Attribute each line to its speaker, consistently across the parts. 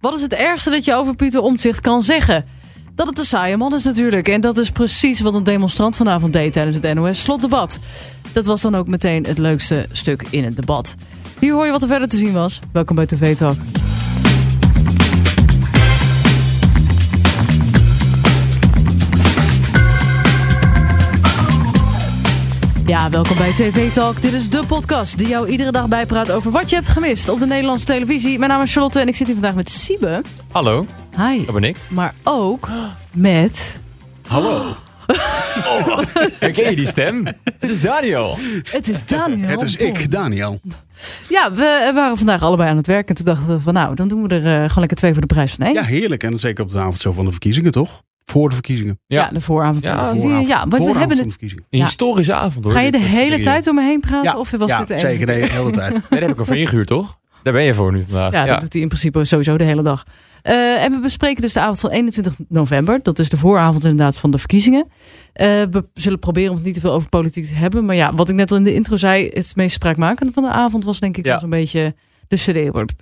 Speaker 1: Wat is het ergste dat je over Pieter Omtzigt kan zeggen? Dat het een saaie man is natuurlijk. En dat is precies wat een demonstrant vanavond deed tijdens het NOS-slotdebat. Dat was dan ook meteen het leukste stuk in het debat. Hier hoor je wat er verder te zien was. Welkom bij TV Talk. Ja, welkom bij TV Talk. Dit is de podcast die jou iedere dag bijpraat over wat je hebt gemist op de Nederlandse televisie. Mijn naam is Charlotte en ik zit hier vandaag met Siebe.
Speaker 2: Hallo,
Speaker 1: Hi.
Speaker 2: dat ben ik.
Speaker 1: Maar ook met... Oh,
Speaker 2: Hallo. Herken je die stem? Het is Daniel.
Speaker 1: Het is Daniel.
Speaker 3: Het is ik, Daniel.
Speaker 1: Ja, we eh, waren vandaag allebei aan het werk en toen dachten we van nou, dan doen we er eh, gewoon lekker twee voor de prijs van één.
Speaker 3: Ja, heerlijk. En zeker op de avond zo van de verkiezingen, toch? Voor de verkiezingen.
Speaker 1: Ja,
Speaker 2: Ja,
Speaker 1: de vooravond.
Speaker 2: Ja,
Speaker 1: van de verkiezingen.
Speaker 3: Vooravond.
Speaker 1: Oh, ja want we
Speaker 3: Vooravond
Speaker 1: hebben
Speaker 3: van de
Speaker 1: het...
Speaker 3: verkiezingen.
Speaker 2: Een
Speaker 1: Ja.
Speaker 2: historische avond hoor.
Speaker 1: Ga je de
Speaker 2: Dit is
Speaker 1: hele
Speaker 2: serieus.
Speaker 1: tijd om me heen praten of was
Speaker 3: ja
Speaker 1: dit de enige?
Speaker 3: zeker. Nee, de hele tijd.
Speaker 2: Nee, daar heb ik ervoor ingehuurd toch? Daar ben je voor nu vandaag.
Speaker 1: Ja,
Speaker 2: Ja,
Speaker 1: dat doet hij in principe sowieso de hele dag. Eh, en we bespreken dus de avond van 21 november. Dat is de vooravond inderdaad van de verkiezingen. Eh, we zullen proberen om het niet te veel over politiek te hebben. Maar ja, wat ik net al in de intro zei, het meest spraakmakende van de avond was denk ik
Speaker 2: Ja.
Speaker 1: wel zo'n beetje de schreeuwert.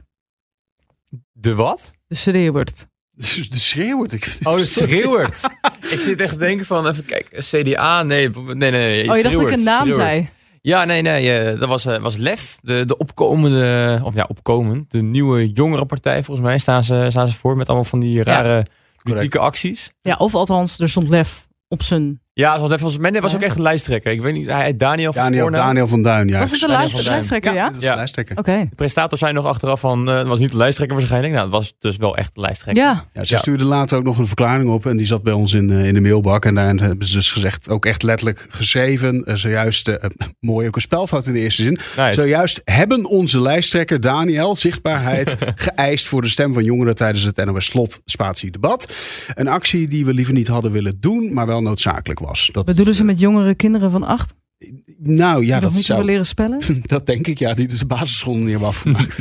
Speaker 2: De wat?
Speaker 1: De schreeuwert.
Speaker 3: Dus De schreeuwt. Ik...
Speaker 2: Oh, de schreeuwert. ik zit echt te denken van, even kijken, CDA, nee, nee, nee. nee
Speaker 1: Oh, je dacht dat ik
Speaker 2: Schreeuwert,
Speaker 1: een naam
Speaker 2: Schreeuwert.
Speaker 1: zei.
Speaker 2: Ja, nee, nee, eh, dat was, eh, was LEF, de, de opkomende, of ja, opkomend, de nieuwe jongere partij volgens mij, staan ze, staan ze voor met allemaal van die rare, ludieke acties.
Speaker 1: Ja, of althans, er stond lef op zijn...
Speaker 2: Ja, want hij was, men was ook echt een lijsttrekker. Ik weet niet, hij heet Daniel van
Speaker 3: Daniel,
Speaker 2: voornaam.
Speaker 3: Daniel van Duin, ja.
Speaker 1: Was het de
Speaker 2: Daniel
Speaker 1: lijst-
Speaker 2: van Duin.
Speaker 1: lijsttrekker, ja?
Speaker 3: Ja,
Speaker 1: Oké.
Speaker 3: dat is
Speaker 2: Ja.
Speaker 3: de lijsttrekker.
Speaker 2: De presentator zei nog achteraf van, eh, het was niet de lijsttrekker, maar ze gaan denken, nou, het was dus wel echt de lijsttrekker.
Speaker 1: Ja,
Speaker 3: Ja, ze
Speaker 2: Ja.
Speaker 3: stuurde later ook nog een verklaring op en die zat bij ons in, eh, in de mailbak. En daarin hebben ze dus gezegd, ook echt letterlijk geschreven, eh, zojuist, eh, mooi ook een spelfout in de eerste zin.
Speaker 2: Nice.
Speaker 3: Zojuist hebben onze lijsttrekker Daniel zichtbaarheid geëist voor de stem van jongeren tijdens het NOS Slot Spatie Debat. Een actie die we liever niet hadden willen doen, maar wel noodzakelijk was. Dat,
Speaker 1: bedoelen ze met jongere kinderen van acht? Die
Speaker 3: nou ja,
Speaker 1: nog
Speaker 3: dat
Speaker 1: niet
Speaker 3: zou...
Speaker 1: hebben leren spellen?
Speaker 3: Dat denk ik, ja, die dus de basisschool niet hebben afgemaakt.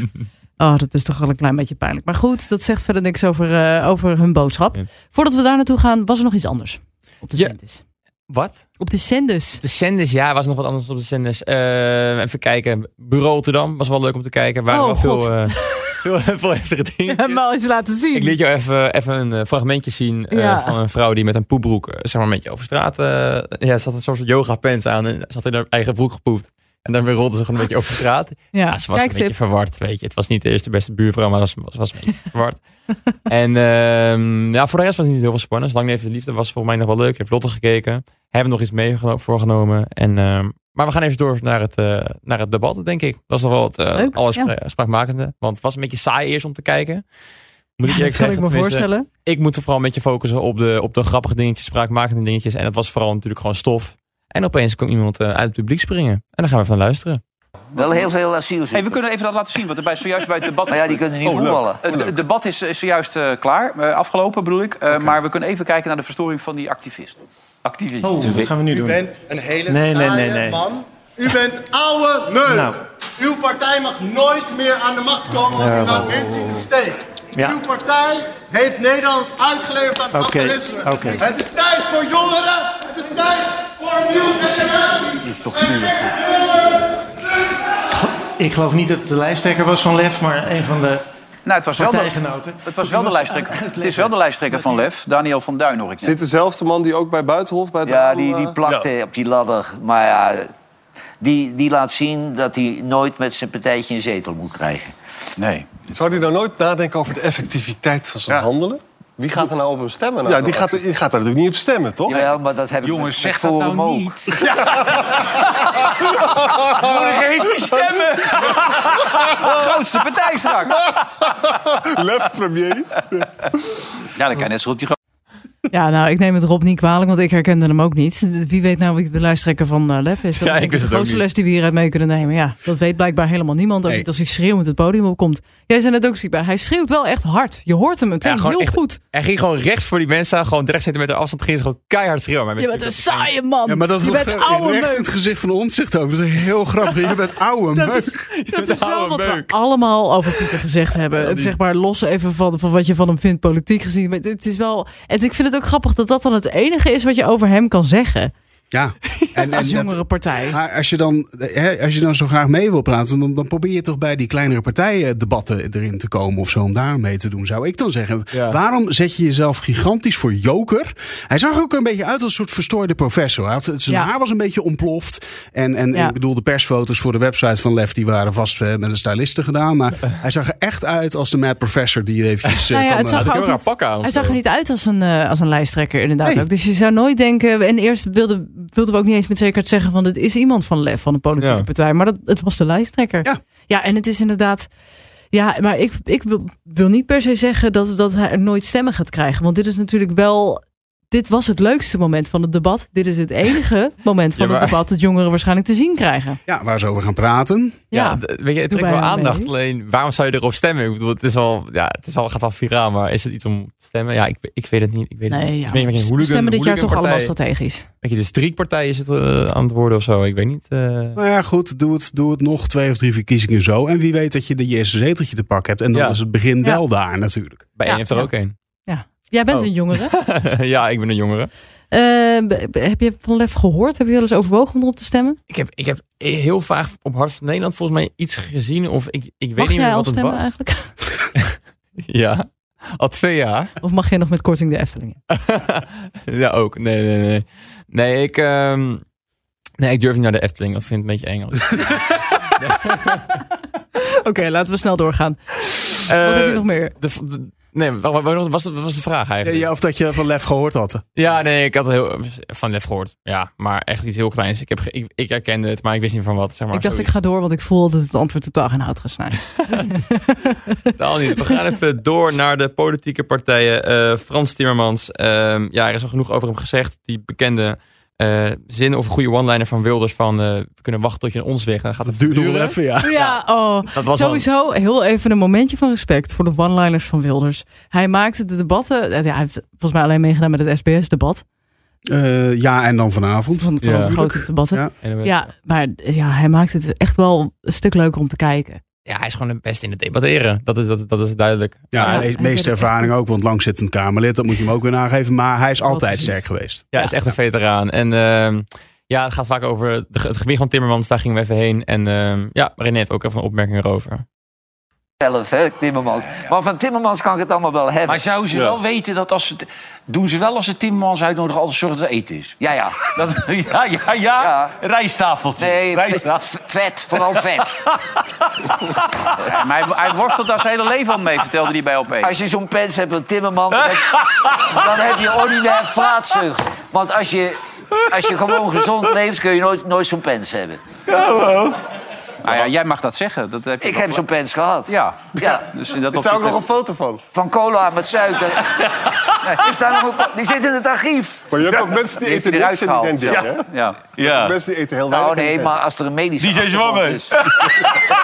Speaker 1: Oh, dat is toch wel een klein beetje pijnlijk. Maar goed, dat zegt verder niks over, eh, over hun boodschap.
Speaker 2: Ja.
Speaker 1: Voordat we daar naartoe gaan, was er nog iets anders op de
Speaker 2: Ja.
Speaker 1: zenders.
Speaker 2: Wat?
Speaker 1: Op de zenders.
Speaker 2: De zenders, ja, was nog wat anders op de zenders. Eh, even kijken, Bureau Rotterdam was wel leuk om te kijken. Waren
Speaker 1: Oh,
Speaker 2: wel veel,
Speaker 1: God.
Speaker 2: eh, veel, veel heftige dingen.
Speaker 1: Helemaal eens laten zien.
Speaker 2: Ik liet jou even, even een eh, fragmentje zien eh,
Speaker 1: Ja.
Speaker 2: van een vrouw die met een poepbroek, eh, zeg maar, een beetje over straat. eh ja, ze had een soort yoga pants aan en ze had in haar eigen broek gepoept. En daarmee rolde ze gewoon een beetje over straat.
Speaker 1: ja,
Speaker 2: Ja, ze was een
Speaker 1: kijktip.
Speaker 2: beetje verward, weet je. Het was niet de eerste beste buurvrouw, maar ze was, was, was een beetje verward. En ehm, ja, voor de rest was het niet heel veel spannend. Lang Leven de Liefde was volgens mij nog wel leuk. Ik heb Lotte gekeken. Hebben nog iets mee voorgenomen. En, ehm, maar we gaan even door naar het, eh, naar het debat, denk ik. Dat is nog wel het eh,
Speaker 1: Leuk,
Speaker 2: allerspra- spraakmakende. Want het was een beetje saai eerst om te kijken. Moet ik
Speaker 1: Ja,
Speaker 2: eerlijk
Speaker 1: dat kan
Speaker 2: zeggen.
Speaker 1: ik me
Speaker 2: Tenminste,
Speaker 1: voorstellen.
Speaker 2: Ik moet er vooral een beetje focussen op de, op de grappige dingetjes, spraakmakende dingetjes. En dat was vooral natuurlijk gewoon stof. En opeens kon iemand eh, uit het publiek springen. En daar gaan we van luisteren.
Speaker 4: Wel heel veel asielzoekers.
Speaker 5: Hey, we kunnen even dat laten zien, want er bij, zojuist bij het debat...
Speaker 4: Nou ja, die kunnen niet
Speaker 5: Oh,
Speaker 4: voetballen.
Speaker 6: Oh,
Speaker 5: Het de- debat is, is zojuist eh, klaar, eh, afgelopen bedoel ik. Eh, Maar we kunnen even kijken naar de verstoring van die activist. Activist.
Speaker 6: Oh,
Speaker 7: Wat gaan we nu
Speaker 8: U
Speaker 7: doen?
Speaker 8: bent een hele
Speaker 7: Nee, nee,
Speaker 8: saaie
Speaker 7: nee, nee.
Speaker 8: man. U bent oude meuk.
Speaker 7: Nou.
Speaker 8: Uw partij mag nooit meer aan de macht komen, want u laat mensen in de steek.
Speaker 7: Ja.
Speaker 8: Uw partij heeft Nederland uitgeleverd aan
Speaker 7: Oké,
Speaker 8: kapitalisme.
Speaker 7: oké.
Speaker 8: Het is tijd voor jongeren. Het is tijd voor een nieuwe generatie. Dit is toch zielig.
Speaker 7: Ik geloof niet dat het de lijsttrekker was van Lef, maar een van de
Speaker 5: Nou, het was wel de,
Speaker 7: partijgenoten.
Speaker 5: het was wel de lijsttrekker. Het is wel de lijsttrekker van Lef, Daniel van Duin, hoor ik net.
Speaker 9: Dit dezelfde man die ook bij Buitenhof bij het
Speaker 4: Ja,
Speaker 9: Adel,
Speaker 4: die, die
Speaker 9: eh,
Speaker 4: plakte op die ladder. Maar ja, die, die laat zien dat hij nooit met zijn partijtje een zetel moet krijgen.
Speaker 5: Nee.
Speaker 9: Zou die nou nooit nadenken over de effectiviteit van zijn handelen?
Speaker 6: Wie gaat er nou op hem stemmen?
Speaker 9: Ja, die gaat, die gaat daar natuurlijk niet op stemmen, toch?
Speaker 4: Jawel, maar dat heb ik
Speaker 5: Jongens,
Speaker 4: met-
Speaker 5: zeg
Speaker 4: met
Speaker 5: dat
Speaker 4: Forum
Speaker 5: nou
Speaker 4: ook.
Speaker 5: niet. Geef die stemmen! Ah, Grootste partij straks.
Speaker 9: Lef premier.
Speaker 5: Ja, dan kan je net zo goed die gro-
Speaker 1: Ja, nou, ik neem het Rob niet kwalijk, want ik herkende hem ook niet. Wie weet nou wie de lijsttrekker van eh, Lef is. Dat
Speaker 2: Ja,
Speaker 1: is
Speaker 2: ik
Speaker 1: denk
Speaker 2: wist
Speaker 1: de
Speaker 2: het ook
Speaker 1: grootste
Speaker 2: niet.
Speaker 1: les die we hieruit mee kunnen nemen. Ja, dat weet blijkbaar helemaal niemand. Ook
Speaker 3: Nee.
Speaker 1: niet als hij schreeuwend het podium opkomt. Jij zei net ook, Siba, hij schreeuwt wel echt hard. Je hoort hem meteen
Speaker 2: Ja, gewoon
Speaker 1: heel
Speaker 2: echt-
Speaker 1: goed.
Speaker 2: Hij ging gewoon recht voor die mensen staan, gewoon 30 centimeter afstand, ging ze gewoon keihard schreeuwen. Maar
Speaker 1: Je bent een saaie man.
Speaker 3: Ja, maar dat
Speaker 1: je bent
Speaker 3: recht
Speaker 1: oude
Speaker 3: in
Speaker 1: meuk.
Speaker 3: het gezicht van de onzicht ook. Dat is heel grappig. Je bent oude
Speaker 1: Dat is-
Speaker 3: meuk.
Speaker 1: Dat
Speaker 2: bent
Speaker 1: is
Speaker 2: een
Speaker 1: wel
Speaker 2: oude
Speaker 1: wat we
Speaker 2: meuk.
Speaker 1: allemaal over Pieter gezegd hebben. Het zeg maar los even van, van wat je van hem vindt, politiek gezien. Maar het is wel. En ik vind het ook grappig dat dat dan het enige is wat je over hem kan zeggen.
Speaker 3: Ja. En, en
Speaker 1: als
Speaker 3: dat-
Speaker 1: jongere partij.
Speaker 3: maar als je, dan, hè, als je dan zo graag mee wil praten, dan, dan probeer je toch bij die kleinere partijen debatten erin te komen of zo. Om daar mee te doen, zou ik dan zeggen.
Speaker 2: Ja.
Speaker 3: Waarom zet je jezelf gigantisch voor joker? Hij zag er ook een beetje uit als een soort verstoorde professor. Hij had, zijn
Speaker 1: Ja.
Speaker 3: haar was een beetje ontploft. En, en
Speaker 1: Ja.
Speaker 3: ik bedoel, de persfoto's voor de website van Lef, die waren vast eh, met een styliste gedaan. Maar hij zag er echt uit als de mad professor die je eventjes eh,
Speaker 1: Nou ja,
Speaker 3: kan,
Speaker 1: het zag
Speaker 3: eh,
Speaker 2: Had ik
Speaker 1: ook
Speaker 2: heel raar
Speaker 1: niet-
Speaker 2: pakken aan.
Speaker 1: Hij zag er niet uit als een, eh, als een lijsttrekker, inderdaad
Speaker 3: Nee.
Speaker 1: ook. Dus je zou nooit denken. En eerst wilden, wilden we ook niet eens met zekerheid zeggen: van het is iemand van lef van een politieke
Speaker 2: Ja.
Speaker 1: partij. Maar dat, het was de lijsttrekker.
Speaker 3: Ja.
Speaker 1: ja, en het is inderdaad. Ja, maar ik, ik wil, wil niet per se zeggen dat, dat hij er nooit stemmen gaat krijgen. Want dit is natuurlijk wel. Dit was het leukste moment van het debat. Dit is het enige moment van
Speaker 2: Ja,
Speaker 1: het
Speaker 2: maar-
Speaker 1: debat dat jongeren waarschijnlijk te zien krijgen.
Speaker 3: ja, waar ze over gaan praten.
Speaker 2: Ja, d- weet je, het
Speaker 1: doe
Speaker 2: trekt
Speaker 1: wij
Speaker 2: wel
Speaker 1: aan
Speaker 2: aandacht.
Speaker 1: mee.
Speaker 2: Alleen, waarom zou je erop stemmen? Ik bedoel, het is wel, ja, het is wel, gaat wel viraal, maar is het iets om te stemmen? Ja, ik, ik weet het niet. Ik weet het
Speaker 1: Nee,
Speaker 2: niet.
Speaker 1: ja.
Speaker 2: Het is meer een
Speaker 1: we
Speaker 2: hooligan-
Speaker 1: stemmen dit jaar toch allemaal
Speaker 2: hooliganpartij.
Speaker 1: strategisch.
Speaker 2: Weet je, de streekpartij is het eh, aan het worden of zo. Ik weet niet. eh,
Speaker 3: Nou ja, goed, doe het, doe het nog twee of drie verkiezingen zo. En wie weet dat je de eerste zeteltje te pakken hebt. En dan
Speaker 2: Ja.
Speaker 3: is het begin wel daar natuurlijk.
Speaker 2: bij
Speaker 1: Ja,
Speaker 2: één heeft er
Speaker 1: ja.
Speaker 2: ook één.
Speaker 1: Jij bent
Speaker 2: Oh.
Speaker 1: een jongere.
Speaker 2: ja, ik ben een jongere.
Speaker 1: Eh, b- b- heb je van Lef gehoord? Heb je wel eens overwogen om erop te stemmen?
Speaker 2: Ik heb, ik heb heel vaag op Hart van Nederland volgens mij iets gezien. Of ik, ik weet
Speaker 1: Mag
Speaker 2: niet meer
Speaker 1: jij al
Speaker 2: wat het
Speaker 1: stemmen
Speaker 2: was.
Speaker 1: eigenlijk?
Speaker 2: Ja, al twee jaar.
Speaker 1: Of mag jij nog met korting de Efteling in?
Speaker 2: ja, ook. Nee, nee, nee. Nee, ik, ehm, nee, ik durf niet naar de Efteling. Dat vind ik een beetje eng.
Speaker 1: Oké, laten we snel doorgaan. Wat heb je
Speaker 2: Eh,
Speaker 1: nog meer?
Speaker 2: de, de- nee, wat, wat, wat was, wat was de vraag
Speaker 3: Ja,
Speaker 2: eigenlijk?
Speaker 3: ja,
Speaker 2: Ja,
Speaker 3: of dat je van Lef gehoord had.
Speaker 2: nee, ik had heel, van Lef gehoord. Ja, maar echt iets heel kleins. Ik, heb, ge- ik, ik herkende het, maar ik wist niet van wat. Zeg maar,
Speaker 1: ik dacht, ik ga door, want ik voel dat het antwoord totaal geen hout gesneden.
Speaker 2: Totaal niet. We gaan even door naar de politieke partijen. Eh, Frans Timmermans. ehm, ja, er is al genoeg over hem gezegd. Die bekende eh, zin of goede one-liner van Wilders van... eh, we kunnen wachten tot je ons weg. Dan gaat het
Speaker 3: Dat duurde nog
Speaker 2: duren.
Speaker 3: wel even, ja.
Speaker 1: Ja, oh.
Speaker 2: Dat was wel-
Speaker 1: Sowieso heel even een momentje van respect voor de one-liners van Wilders. Hij maakte de debatten... eh, Ja, hij heeft volgens mij alleen meegedaan met het SBS-debat.
Speaker 3: Eh, ja, en dan
Speaker 1: Van,
Speaker 3: vanavond.
Speaker 1: van
Speaker 2: Ja.
Speaker 1: de grote debatten.
Speaker 3: Ja.
Speaker 1: Ja.
Speaker 2: En dan-
Speaker 1: maar ja, hij maakte het echt wel een stuk leuker om te kijken.
Speaker 2: ja, hij is gewoon het beste in het debatteren. Dat is, dat, dat is duidelijk.
Speaker 3: Ja,
Speaker 1: Ja,
Speaker 3: de
Speaker 1: hij deed
Speaker 3: meeste
Speaker 1: het
Speaker 3: ervaring
Speaker 1: echt
Speaker 3: ook, want langzittend Kamerlid, dat moet je hem ook weer nageven. Maar hij is
Speaker 1: Dat
Speaker 3: altijd
Speaker 1: is-
Speaker 3: sterk geweest.
Speaker 2: Ja, hij is echt een veteraan. En ehm, ja, het gaat vaak over de, het gewicht van Timmermans. Daar gingen we even heen. En ehm, ja, René heeft ook even een opmerking erover.
Speaker 4: zelf, hè, Timmermans. Maar van Timmermans kan ik het allemaal wel hebben.
Speaker 6: Maar zouden ze wel weten dat als ze... t- Doen ze wel als ze Timmermans uitnodigen altijd zorgen dat er eten is?
Speaker 4: Ja, ja.
Speaker 6: Dat, ja, ja, ja,
Speaker 4: Ja.
Speaker 6: Rijstafeltje.
Speaker 4: Nee, v-
Speaker 6: Rijsttafel.
Speaker 4: v- vet. Vooral vet.
Speaker 5: Ja, maar hij, hij worstelt daar zijn hele leven al mee, vertelde hij bij op
Speaker 4: Als je zo'n pens hebt van Timmerman, dan heb, dan heb je ordinair vaatzucht. Want als je, als je gewoon gezond leeft, kun je nooit, nooit zo'n pens hebben.
Speaker 5: Nou ja, jij mag dat zeggen. Dat heb je
Speaker 4: Ik
Speaker 5: nog
Speaker 4: heb
Speaker 5: wel.
Speaker 4: zo'n pens gehad.
Speaker 5: Ja.
Speaker 4: ja.
Speaker 5: Dus in dat
Speaker 9: Er staat ook
Speaker 5: opzicht-
Speaker 9: nog een foto van.
Speaker 4: Van cola met suiker. Die, staan nog op- die zit in het archief.
Speaker 9: Maar je hebt ook mensen die
Speaker 5: Die heeft hij
Speaker 9: eten
Speaker 5: eruit
Speaker 9: niks en die zijn
Speaker 5: gehaald.
Speaker 9: dik, hè?
Speaker 5: Ja. ja.
Speaker 9: Mensen die eten heel weinig.
Speaker 4: Nou
Speaker 9: en die
Speaker 4: nee,
Speaker 9: zijn
Speaker 4: maar als er een medische
Speaker 6: Die zijn
Speaker 4: achtergrond
Speaker 6: zwanger.
Speaker 4: is...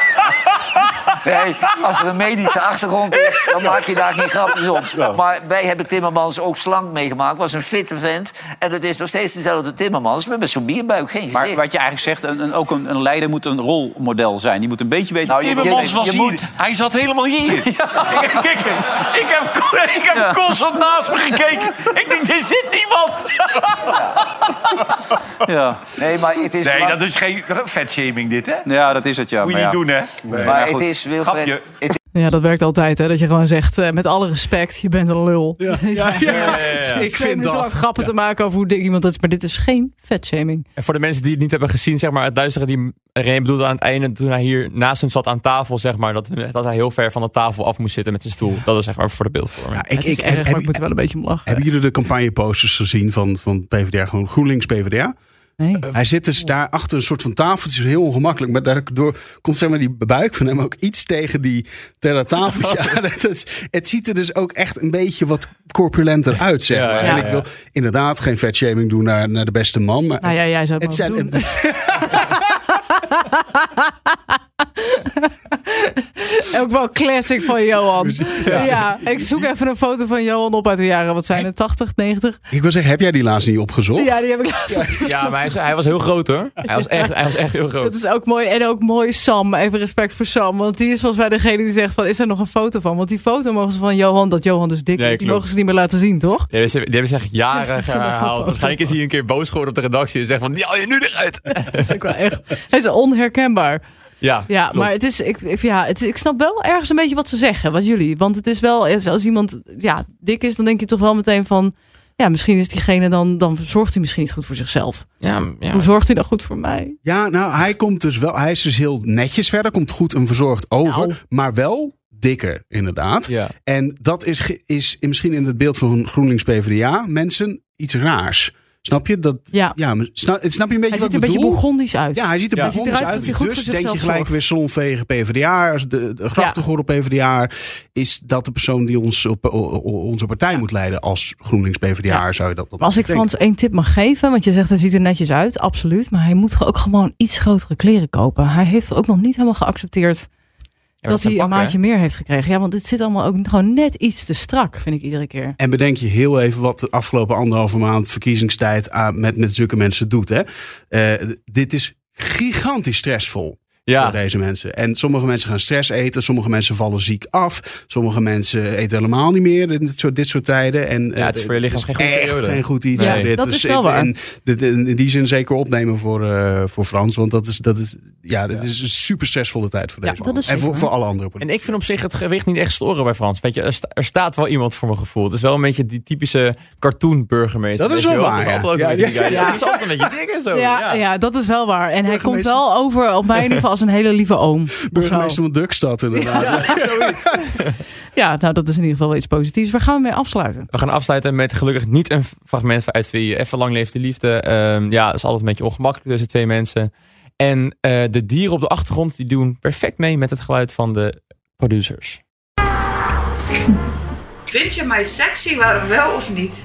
Speaker 4: Nee, als er een medische achtergrond is, dan maak je daar geen grapjes op. Maar wij hebben Timmermans ook slank meegemaakt. Was een fitte vent. En het is nog steeds dezelfde Timmermans, maar met zo'n bierbuik geen gezicht.
Speaker 5: Maar wat je eigenlijk zegt, een, een- ook een, een leider moet een rolmodel zijn. Die moet een beetje weten...
Speaker 4: Nou, je-
Speaker 6: Timmermans was
Speaker 4: je
Speaker 6: hier.
Speaker 4: moet-
Speaker 6: Hij zat helemaal hier. Kijk, kijk, ik heb, ik heb constant naast me gekeken. Ik denk, er zit niemand.
Speaker 5: Ja.
Speaker 4: Nee, maar het is...
Speaker 6: Nee,
Speaker 4: maar-
Speaker 6: dat is geen vetshaming dit, hè?
Speaker 5: ja, dat is het, ja.
Speaker 6: Moet je
Speaker 5: Maar
Speaker 6: niet
Speaker 5: ja.
Speaker 6: doen, hè?
Speaker 4: Maar
Speaker 5: Ja,
Speaker 4: het
Speaker 5: goed.
Speaker 4: is, Wilfred,
Speaker 6: Grapje.
Speaker 4: het
Speaker 1: Ja, dat werkt altijd, hè? Dat je gewoon zegt, eh, met alle respect, je bent een lul. Ja,
Speaker 3: Ik
Speaker 1: Twee
Speaker 3: vind
Speaker 1: minuten lang
Speaker 3: dat.
Speaker 1: grappen te maken over hoe dik iemand is. Maar dit is geen vetshaming.
Speaker 2: En voor de mensen die het niet hebben gezien, zeg maar, het luisteren die René bedoelde aan het einde, toen hij hier naast hem zat aan tafel, zeg maar, dat, dat hij heel ver van de tafel af moest zitten met zijn stoel. Dat is zeg maar voor de beeldvorming.
Speaker 3: Ja, ik,
Speaker 1: het is
Speaker 3: ik,
Speaker 1: erg,
Speaker 3: heb,
Speaker 1: maar ik moet
Speaker 3: heb-
Speaker 1: er wel een beetje om lachen.
Speaker 3: hebben jullie de campagneposters gezien van, van PvdA, gewoon GroenLinks PvdA?
Speaker 1: Nee.
Speaker 3: Hij zit dus daar achter een soort van tafeltje, heel ongemakkelijk. Maar daardoor komt zeg maar die buik van hem ook iets tegen die tegen dat tafeltje
Speaker 2: Oh.
Speaker 3: aan. Het, is- het ziet er dus ook echt een beetje wat corpulenter uit, zeg
Speaker 2: Ja,
Speaker 3: maar.
Speaker 2: ja,
Speaker 3: En
Speaker 1: ja.
Speaker 3: ik wil inderdaad geen vetshaming doen naar, naar de beste man. Maar
Speaker 1: Nou ja, jij zou het,
Speaker 3: het zijn...
Speaker 1: mogen doen.
Speaker 3: het-
Speaker 1: Ook wel classic van Johan. Ja. ik zoek even een foto van Johan op uit de jaren, wat zijn het, 80, 90?
Speaker 3: Ik wil zeggen, heb jij die laatst niet opgezocht?
Speaker 1: Ja, die heb ik laatst
Speaker 2: Ja, maar hij, is- hij was heel groot hoor. Hij was echt, hij was echt heel
Speaker 1: Dat
Speaker 2: groot.
Speaker 1: is ook mooi. En ook mooi Sam. Even respect voor Sam. Want die is volgens mij degene die zegt van... is er nog een foto van? Want die foto mogen ze van Johan... dat Johan dus dik
Speaker 2: Nee,
Speaker 1: is. Die
Speaker 2: klopt.
Speaker 1: mogen ze niet meer laten zien, toch?
Speaker 2: Ja, die hebben ze echt jaren
Speaker 1: Ja, ze hebben
Speaker 2: herhaald.
Speaker 1: gewoon-
Speaker 2: Waarschijnlijk is hij een keer boos geworden op de redactie en zegt van, die haal je nu eruit.
Speaker 1: Dat is ook wel echt... Hij is onherkenbaar.
Speaker 2: Ja,
Speaker 1: Ja,
Speaker 2: klopt.
Speaker 1: maar het is... Ik, ik- ja, het, ik snap wel ergens een beetje wat ze zeggen. Wat jullie. Want het is wel... als- Als iemand ja, dik is, dan denk je toch wel meteen van... Ja, misschien is diegene dan... Dan zorgt hij misschien niet goed voor zichzelf.
Speaker 2: Ja, ja.
Speaker 1: Hoe zorgt hij dan goed voor mij?
Speaker 3: Ja, nou, hij komt dus wel. Hij is dus heel netjes verder, komt goed en verzorgd over, maar wel dikker, inderdaad.
Speaker 2: Ja.
Speaker 3: En dat is, ge- is in- misschien in het beeld van GroenLinks PvdA mensen iets raars. Snap je? Dat,
Speaker 1: Ja.
Speaker 3: ja, maar snap, snap je een
Speaker 1: Hij
Speaker 3: beetje wat
Speaker 1: ziet
Speaker 3: ik
Speaker 1: een beetje
Speaker 3: bedoel?
Speaker 1: bourgondisch uit.
Speaker 3: ja, hij ziet er
Speaker 2: Ja.
Speaker 3: ja.
Speaker 2: Hij
Speaker 1: ziet eruit alsof hij goed
Speaker 3: dus
Speaker 1: voor
Speaker 3: denk je
Speaker 1: zichzelf
Speaker 3: gelijk
Speaker 1: zorgt.
Speaker 3: weer salonvege PvdA, de, de grachtengorde PvdA. Is dat de persoon die ons op, o- o- onze partij moet leiden als GroenLinks PvdA? Zou je dat dan
Speaker 1: Maar als ik
Speaker 3: denken?
Speaker 1: Frans één tip mag geven, want je zegt hij ziet er netjes uit, absoluut. Maar hij moet ook gewoon iets grotere kleren kopen. Hij heeft ook nog niet helemaal geaccepteerd dat hij een maatje meer heeft gekregen. Ja, want dit zit allemaal ook gewoon net iets te strak, vind ik iedere keer.
Speaker 3: En bedenk je heel even wat de afgelopen anderhalve maand verkiezingstijd aan- met, met zulke mensen doet. Hè? Eh, d- dit is gigantisch stressvol voor
Speaker 2: Ja,
Speaker 3: deze mensen. En sommige mensen gaan stress eten, sommige mensen vallen ziek af. Sommige mensen eten helemaal niet meer in dit soort, dit soort tijden. En, eh,
Speaker 2: het is voor je lichaam geen goede
Speaker 3: echt
Speaker 2: periode.
Speaker 3: geen goed iets.
Speaker 2: Nee.
Speaker 3: hoor, dit.
Speaker 1: Dat
Speaker 3: Dus
Speaker 1: is wel
Speaker 3: in-
Speaker 1: waar.
Speaker 3: In, dit- in- in die zin zeker opnemen voor, eh, voor Frans. Want dat is, dat is, ja, dat is een super stressvolle tijd voor
Speaker 1: Ja,
Speaker 3: deze
Speaker 1: dat
Speaker 3: mannen.
Speaker 1: is
Speaker 3: En voor,
Speaker 1: zeker
Speaker 3: voor alle andere
Speaker 2: en
Speaker 3: politici.
Speaker 2: ik vind op zich het gewicht niet echt storen bij Frans. Weet je, er, sta- er staat wel iemand voor mijn gevoel. Het is wel een beetje die typische cartoon burgemeester.
Speaker 3: Dat is
Speaker 2: weet je
Speaker 3: wel
Speaker 2: Het
Speaker 3: waar,
Speaker 2: is altijd
Speaker 3: ja.
Speaker 2: ook een
Speaker 3: Ja,
Speaker 2: beetje die guy.
Speaker 1: ja, ja.
Speaker 2: Het is altijd een beetje dik en zo.
Speaker 1: ja, ja. dat is wel waar. En hij komt
Speaker 3: Burgemeester-
Speaker 1: wel over, op mij in ieder geval, als een hele lieve oom. of zo.
Speaker 3: Burgemeester van Dukstad inderdaad.
Speaker 1: Ja, nou dat is in ieder geval wel iets positiefs. Waar gaan we mee afsluiten?
Speaker 2: We gaan afsluiten met gelukkig niet een fragment uit VI. Even lang leeft de liefde. Ehm, ja, dat is altijd een beetje ongemakkelijk tussen twee mensen. En eh, de dieren op de achtergrond die doen perfect mee met het geluid van de producers.
Speaker 10: Vind je mij sexy, waarom wel of niet?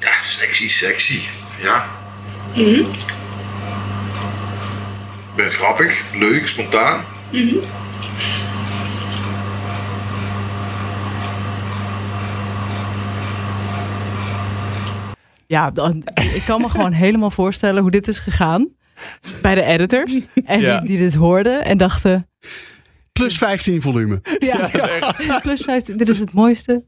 Speaker 8: Ja, sexy, sexy. Ja. Je bent grappig, leuk, spontaan.
Speaker 1: Ja, dan- ik kan me gewoon helemaal voorstellen hoe dit is gegaan bij de editors. En
Speaker 2: Ja.
Speaker 1: die, die dit hoorden en dachten,
Speaker 3: Plus 15 volume.
Speaker 1: Ja, plus 15. Dit is het mooiste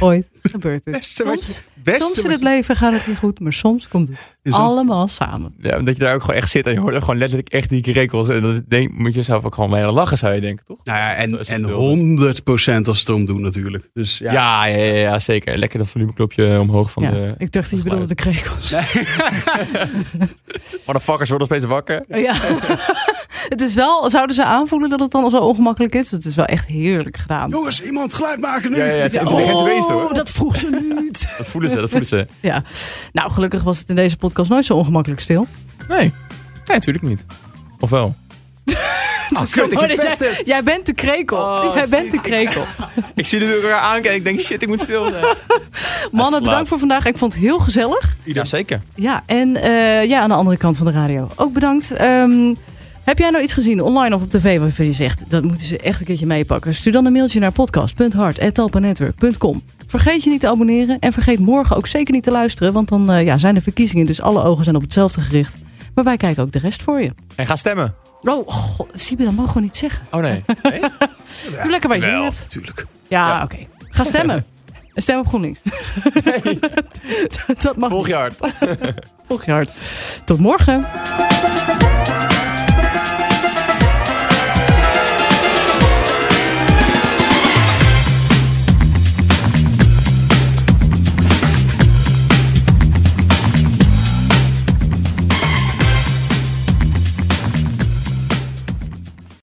Speaker 1: ooit gebeurd. is.
Speaker 3: Beste wat je-
Speaker 1: soms,
Speaker 3: beste
Speaker 1: soms in
Speaker 3: wat
Speaker 1: het
Speaker 3: je-
Speaker 1: leven gaat het niet goed, maar soms komt het
Speaker 3: Is dat-
Speaker 1: allemaal samen.
Speaker 2: Ja, omdat je daar ook gewoon echt zit en je hoort ook gewoon letterlijk echt die krekels. En dan denk, moet je jezelf ook gewoon mee aan lachen, zou je denken, toch?
Speaker 3: Nou ja,
Speaker 2: Zo
Speaker 3: en,
Speaker 2: is het
Speaker 3: en
Speaker 2: wilde.
Speaker 3: 100 als het om doet natuurlijk. Dus ja.
Speaker 2: Ja, ja, ja, ja, zeker. Lekker dat volumeknopje omhoog van
Speaker 1: Ja,
Speaker 2: de...
Speaker 1: ik dacht, je bedoelde de krekels.
Speaker 2: Motherfuckers worden opeens wakker.
Speaker 1: Ja. het is wel, zouden ze aanvoelen dat het dan zo ongemakkelijk is? Het is wel echt heerlijk gedaan.
Speaker 3: Jongens, iemand geluid maken nu.
Speaker 2: Ja, ja, ja, het is
Speaker 1: Ja,
Speaker 2: intelligent geweest,
Speaker 1: oh,
Speaker 2: hoor.
Speaker 1: dat vroeg ze niet.
Speaker 2: Dat voelen ze, dat voelen ze.
Speaker 1: ja. Nou, gelukkig was het in deze podcast nooit zo ongemakkelijk stil.
Speaker 2: Nee, nee, natuurlijk niet. Of wel?
Speaker 1: Het is zo mooi dat jij, jij bent de krekel. jij bent de krekel.
Speaker 2: Ik zie jullie elkaar aankijken. Ik denk, shit, ik moet stil zijn.
Speaker 1: Mannen,
Speaker 2: laat.
Speaker 1: bedankt voor vandaag. Ik vond het heel gezellig.
Speaker 2: Ja, zeker.
Speaker 1: Ja, en eh, ja, aan de andere kant van de radio. Ook bedankt. Ehm, heb jij nou iets gezien online of op tv waarvan je zegt... dat moeten ze echt een keertje meepakken? Stuur dan een mailtje naar podcast.hart.talpanetwerk.com. Vergeet je niet te abonneren en vergeet morgen ook zeker niet te luisteren... want dan eh, ja, zijn de verkiezingen, dus alle ogen zijn op hetzelfde gericht. Maar wij kijken ook de rest voor je.
Speaker 2: En ga stemmen.
Speaker 1: Oh, god, Siebe, dat mag gewoon niet zeggen.
Speaker 2: Oh nee.
Speaker 1: Doe lekker bij je zin
Speaker 2: wel,
Speaker 1: hebt.
Speaker 3: Tuurlijk.
Speaker 1: Ja,
Speaker 2: Ja.
Speaker 1: oké. Ga stemmen. En Stem op GroenLinks. dat mag
Speaker 2: Volg je hart.
Speaker 1: volg je hart. Tot morgen.